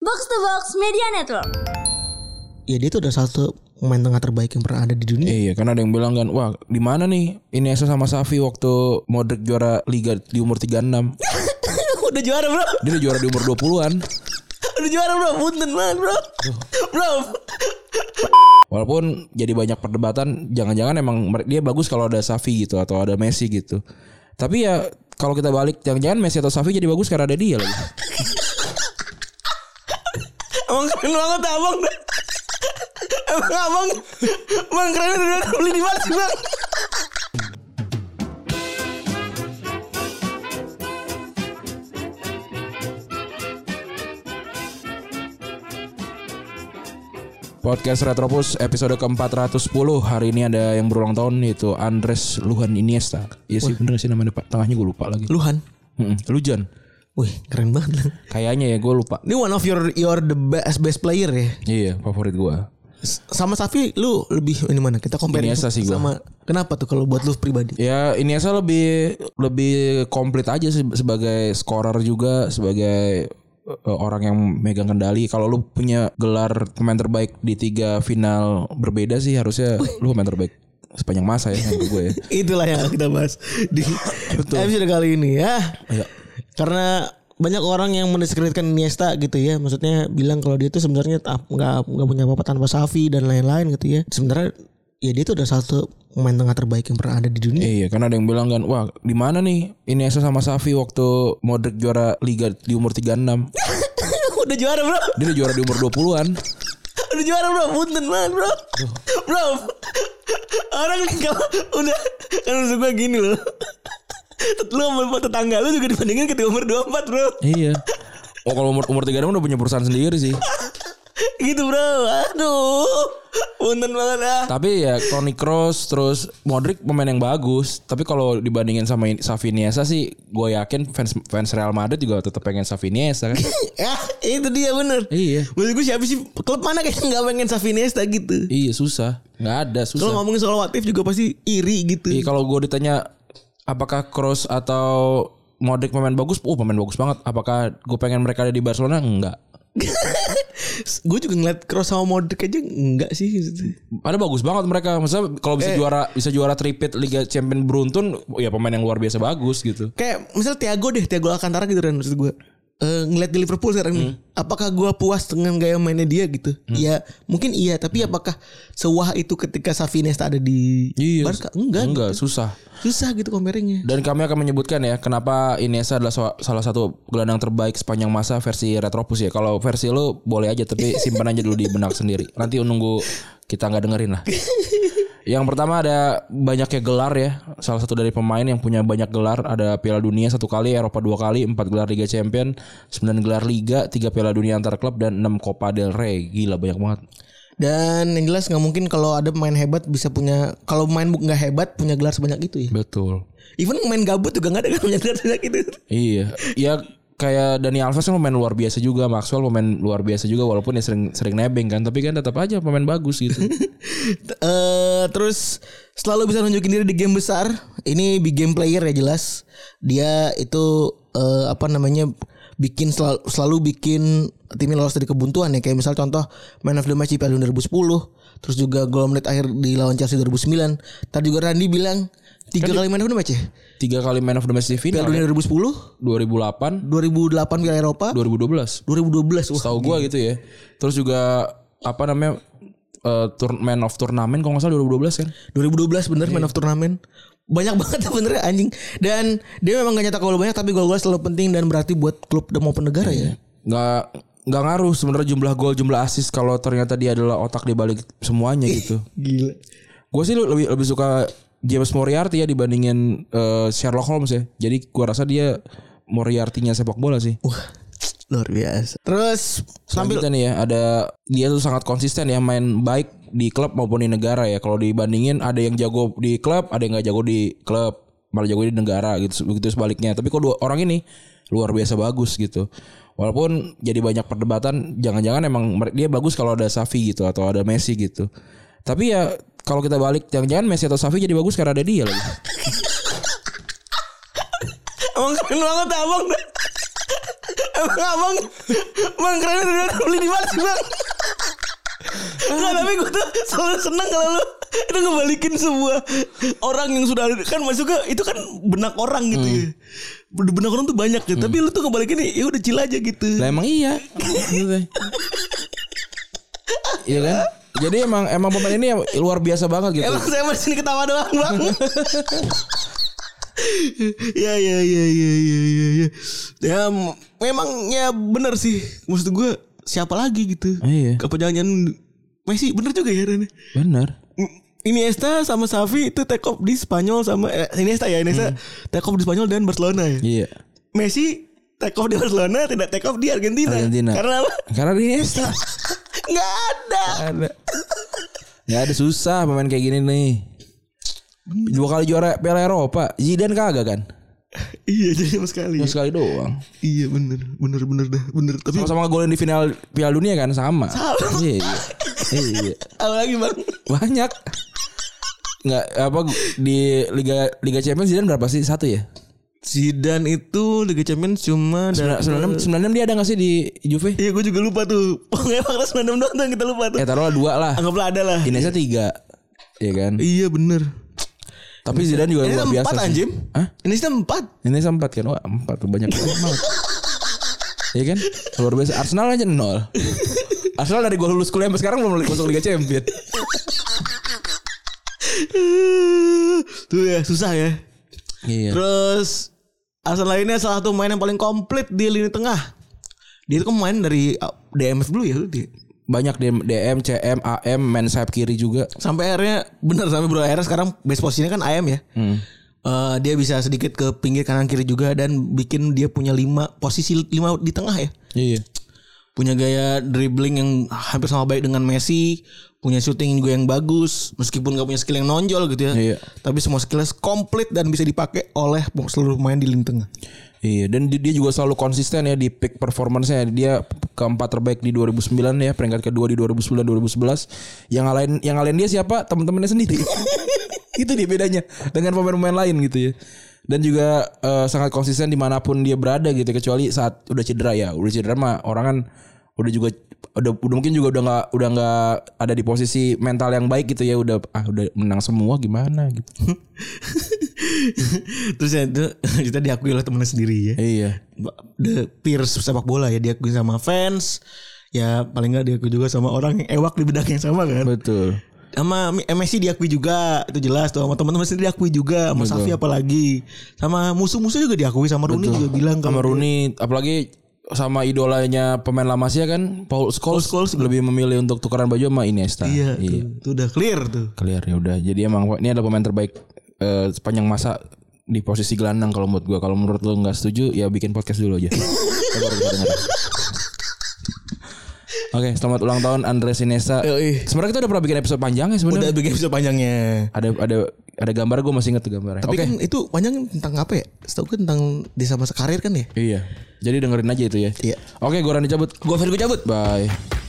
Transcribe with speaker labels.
Speaker 1: Box to Box Media Network.
Speaker 2: Ya dia tuh udah satu pemain tengah terbaik yang pernah ada di dunia.
Speaker 3: Iya, karena ada yang bilang kan, wah di mana nih Iniesta sama Safi waktu Modric juara liga di umur 36.
Speaker 2: udah juara bro,
Speaker 3: Dia udah juara di umur 20-an.
Speaker 2: udah juara bro, punten banget bro, bro.
Speaker 3: Walaupun jadi banyak perdebatan, jangan-jangan emang mer- dia bagus kalau ada Safi gitu atau ada Messi gitu. Tapi ya kalau kita balik, jangan-jangan Messi atau Safi jadi bagus karena ada dia lagi.
Speaker 2: Emang keren banget abang. Emang abang, emang keren udah beli di mana sih bang?
Speaker 3: Podcast Retropus episode ke-410 Hari ini ada yang berulang tahun yaitu Andres Luhan Iniesta Iya sih bener sih namanya Pak Tengahnya gue lupa lagi
Speaker 2: Luhan,
Speaker 3: Mm-mm, Lujan
Speaker 2: wih keren banget. Lan.
Speaker 3: Kayaknya ya gue lupa
Speaker 2: Ini one of your your the best best player ya.
Speaker 3: Iya favorit gue
Speaker 2: S- Sama Safi lu lebih ini mana? Kita compare
Speaker 3: Iniesta sih gua.
Speaker 2: sama kenapa tuh kalau buat lu pribadi?
Speaker 3: Ya Iniesta lebih lebih komplit aja sih sebagai scorer juga sebagai eh, orang yang megang kendali. Kalau lu punya gelar pemain terbaik di tiga final berbeda sih harusnya lu pemain terbaik sepanjang masa ya menurut gue ya.
Speaker 2: Itulah yang akan kita bahas di episode kali ini ya.
Speaker 3: Iya.
Speaker 2: Karena banyak orang yang mendiskreditkan Iniesta gitu ya. Maksudnya bilang kalau dia tuh sebenarnya ta- nggak nggak punya apa-apa tanpa Xavi dan lain-lain gitu ya. Sebenarnya ya dia tuh udah satu pemain tengah terbaik yang pernah ada di dunia.
Speaker 3: Iya, karena ada yang bilang kan, wah di mana nih Iniesta sama Safi waktu Modric juara liga di umur 36.
Speaker 2: udah juara bro,
Speaker 3: Dia udah juara di umur 20-an.
Speaker 2: udah juara bro, punten banget bro, bro. Orang nih kalau udah kan maksud gue gini loh. Lu sama tetangga lu juga dibandingin ketika umur 24 bro
Speaker 3: iya. Oh kalau umur umur 36 udah punya perusahaan sendiri sih.
Speaker 2: Gitu bro Aduh Punten banget ah
Speaker 3: Tapi ya Toni Kroos terus Modric pemain yang bagus. Tapi kalau dibandingin sama In- Xavi Iniesta sih, gue yakin fans fans Real Madrid juga tetap pengen Xavi Iniesta kan.
Speaker 2: Ya itu dia bener
Speaker 3: iya.
Speaker 2: Maksud gue siapa sih Klub mana kayak gak pengen Xavi Iniesta gitu
Speaker 3: Iya susah, nggak ada
Speaker 2: Kalau
Speaker 3: susah.
Speaker 2: ngomongin soal watif juga pasti iri gitu
Speaker 3: Iya kalau gue ditanya apakah Kroos atau Modric pemain bagus? Oh pemain bagus banget. Apakah gue pengen mereka ada di Barcelona? Enggak.
Speaker 2: Gue juga ngeliat Kroos sama Modric aja Enggak sih
Speaker 3: Ada bagus banget mereka. Maksudnya kalau bisa juara bisa juara tripit Liga Champion beruntun, ya pemain yang luar biasa bagus gitu.
Speaker 2: Kayak misal Thiago deh Thiago Alcantara gitu kan maksud gue Eh, ngeliat di Liverpool sekarang
Speaker 3: Hmm.
Speaker 2: nih, apakah gue puas dengan gaya mainnya dia gitu? Ya mungkin iya,
Speaker 3: Hmm.
Speaker 2: tapi apakah sewah itu ketika Xavi Iniesta ada di Barca? Enggak,
Speaker 3: Iya. enggak susah.
Speaker 2: susah gitu comparingnya.
Speaker 3: Dan kami akan menyebutkan ya kenapa Iniesta adalah so- salah satu gelandang terbaik sepanjang masa versi Retropus ya. Kalau versi lu boleh aja tapi simpan aja dulu di benak sendiri. Nanti nunggu kita nggak dengerin lah. Yang pertama ada banyaknya gelar ya. Salah satu dari pemain yang punya banyak gelar ada Piala Dunia satu kali, Eropa dua kali, empat gelar Liga Champion, sembilan gelar Liga, tiga Piala Dunia antar klub dan enam Copa del Rey. Gila banyak banget.
Speaker 2: Dan yang jelas nggak mungkin kalau ada pemain hebat bisa punya kalau pemain bu- nggak hebat punya gelar sebanyak itu ya.
Speaker 3: Betul.
Speaker 2: Even pemain gabut juga nggak ada kan punya gelar sebanyak itu.
Speaker 3: Iya, ya kayak Dani Alves kan pemain luar biasa juga, Maxwell pemain luar biasa juga walaupun ya sering sering nebeng kan, tapi kan tetap aja pemain bagus gitu.
Speaker 2: T- eh, terus selalu bisa nunjukin diri di game besar. Ini big game player ya jelas. Dia itu eh, apa namanya bikin selalu, selalu bikin timnya lolos dari kebuntuan ya. Kayak misal contoh Man of the Match di Piala Dunia 2010, terus juga gol menit akhir di lawan Chelsea 2009. Tadi juga Randy bilang tiga kali Man of the Match ya.
Speaker 3: Tiga kali man of the match di
Speaker 2: Piala Dunia
Speaker 3: final.
Speaker 2: 2010,
Speaker 3: 2008,
Speaker 2: 2008 Piala Eropa,
Speaker 3: 2012.
Speaker 2: 2012 wah
Speaker 3: Tahu gua gitu ya. Terus juga apa namanya? eh turn, man of turnamen kalau nggak salah 2012 kan.
Speaker 2: 2012 bener man of turnamen banyak banget bener anjing dan dia memang gak nyetak gol banyak tapi gol-gol selalu penting dan berarti buat klub dan maupun negara ya
Speaker 3: Nggak nggak ngaruh sebenarnya jumlah gol jumlah assist kalau ternyata dia adalah otak di balik semuanya gitu.
Speaker 2: gila
Speaker 3: Gue sih lebih lebih suka James Moriarty ya dibandingin eh, Sherlock Holmes ya. Jadi gua rasa dia Moriarty-nya sepak bola sih.
Speaker 2: wah luar biasa terus tampil
Speaker 3: Selanjutnya nih ya ada dia tuh sangat konsisten ya main baik di klub maupun di negara ya. Kalau dibandingin ada yang jago di klub, ada yang nggak jago di klub, malah jago di negara gitu begitu sebaliknya. Tapi kok dua orang ini luar biasa bagus gitu. Walaupun jadi banyak perdebatan, jangan-jangan emang mer- dia bagus kalau ada Safi gitu atau ada Messi gitu. Tapi ya kalau kita balik, jangan-jangan Messi atau Safi jadi bagus karena ada dia lagi.
Speaker 2: emang keren banget abang Emang abang Bang keren udah beli di mana sih bang Enggak tapi gue tuh selalu seneng kalau lu Itu ngebalikin semua Orang yang sudah ada Kan masuknya itu kan benak orang gitu ya Benak orang tuh banyak gitu Tapi lu tuh ngebalikin ya udah chill aja gitu
Speaker 3: Lah emang iya. Gitu deh. Iya kan? Jadi emang emang pemain ini em- luar biasa banget gitu.
Speaker 2: Emang saya masih sini ketawa doang bang ya ya ya ya ya ya ya ya m- memang ya benar sih maksud gue siapa lagi gitu
Speaker 3: Iya.
Speaker 2: apa jangan-jangan Messi bener juga ya Ren
Speaker 3: Bener.
Speaker 2: M- Iniesta sama Xavi itu take off di Spanyol sama eh, Iniesta ya Iniesta take off di Spanyol dan Barcelona ya
Speaker 3: Iya.
Speaker 2: Messi take off di Barcelona tidak take off di Argentina,
Speaker 3: Argentina.
Speaker 2: karena apa
Speaker 3: Karena Iniesta
Speaker 2: nggak ada
Speaker 3: ada. Gak ada susah pemain kayak gini nih. Dua kali juara Piala Eropa, Zidane kagak kan?
Speaker 2: iya jadi sama sekali
Speaker 3: Cuma
Speaker 2: ya.
Speaker 3: sekali doang.
Speaker 2: iya bener bener bener dah bener tapi
Speaker 3: Sama-sama golin di final Piala Dunia kan sama.
Speaker 2: Sama.
Speaker 3: Iya. Iya. iya.
Speaker 2: apa lagi bang
Speaker 3: Banyak. Nggak apa di Liga Liga Champions Zidane berapa sih? Satu ya?
Speaker 2: Zidane itu Liga Champions cuma dari
Speaker 3: Sembilan enam dia ada nggak sih di Juve?
Speaker 2: Iya gue juga lupa tuh Pokoknya fakta 96 doang tuh yang kita lupa tuh
Speaker 3: Ya taruhlah dua lah.
Speaker 2: Anggaplah ada lah
Speaker 3: Indonesia tiga, ya kan?
Speaker 2: Iya bener
Speaker 3: Tapi Zidane juga
Speaker 2: Ini
Speaker 3: luar biasa.
Speaker 2: empat
Speaker 3: sih.
Speaker 2: anjim
Speaker 3: Hah?
Speaker 2: Ini kita empat
Speaker 3: Indonesia empat kan? Wah empat tuh banyak banget. Iya kan? Luar biasa. Arsenal aja nol. Arsenal dari gua lulus kuliah sampai sekarang belum masuk Liga Champions.
Speaker 2: Tuh ya susah ya
Speaker 3: Iya.
Speaker 2: Terus Asal lainnya salah satu main yang paling komplit di lini tengah Dia itu kan main dari uh, DMF dulu ya dia.
Speaker 3: Banyak DM, DM, CM, AM, main sayap kiri juga.
Speaker 2: Sampai akhirnya bener sampai bro akhirnya sekarang base posisinya kan AM ya Eh, dia bisa sedikit ke pinggir kanan kiri juga dan bikin dia punya lima posisi lima di tengah ya.
Speaker 3: Iya.
Speaker 2: punya gaya dribbling yang hampir sama baik dengan Messi, punya shooting juga yang bagus, meskipun gak punya skill yang nonjol gitu ya.
Speaker 3: Iya.
Speaker 2: Tapi semua skillnya komplit dan bisa dipakai oleh seluruh pemain di lini tengah.
Speaker 3: Iya, dan di- dia juga selalu konsisten ya di peak performance-nya. Dia keempat terbaik di 2009 ya, peringkat kedua di 2009 2011. Yang lain yang lain dia siapa? Teman-temannya sendiri. Itu dia bedanya dengan pemain-pemain lain gitu ya. Dan juga eh, sangat konsisten dimanapun dia berada gitu kecuali saat udah cedera ya. Udah cedera mah orang kan udah juga udah, udah mungkin juga udah nggak udah nggak ada di posisi mental yang baik gitu ya udah ah udah menang semua gimana gitu
Speaker 2: Terus ya, itu kita diakui oleh temannya sendiri ya.
Speaker 3: iya
Speaker 2: The peers sepak bola ya diakui sama fans. Ya paling nggak diakui juga sama orang yang ewak di bidang yang sama kan.
Speaker 3: betul
Speaker 2: sama MSC diakui juga itu jelas tuh sama teman-teman sendiri diakui juga sama Safi apalagi sama musuh-musuh juga diakui sama Rooney juga bilang
Speaker 3: sama
Speaker 2: kalau
Speaker 3: Rooney apalagi sama idolanya pemain lama sih kan Paul Scholes, lebih memilih untuk tukaran baju sama Iniesta.
Speaker 2: iya, tuh, itu udah clear tuh
Speaker 3: Clear ya udah. Jadi emang ini adalah pemain terbaik eh, sepanjang masa di posisi gelandang kalau menurut gua. Kalau menurut lu nggak setuju ya bikin podcast dulu aja. Ntar baru kita dengerin. Oke, selamat ulang tahun Andres Iniesta.
Speaker 2: Yoi.
Speaker 3: Sebenarnya kita udah pernah bikin episode panjang
Speaker 2: udah
Speaker 3: ya sebenarnya.
Speaker 2: bikin episode panjangnya
Speaker 3: Ada ada ada gambar gua masih inget tuh gambarnya.
Speaker 2: tapi
Speaker 3: Oke.
Speaker 2: kan itu panjang tentang apa ya setahu gue tentang desa masa karir kan ya
Speaker 3: Iya. Jadi dengerin aja itu ya.
Speaker 2: Iya.
Speaker 3: Oke, gua Rani cabut. Gua Fergo cabut. Bye.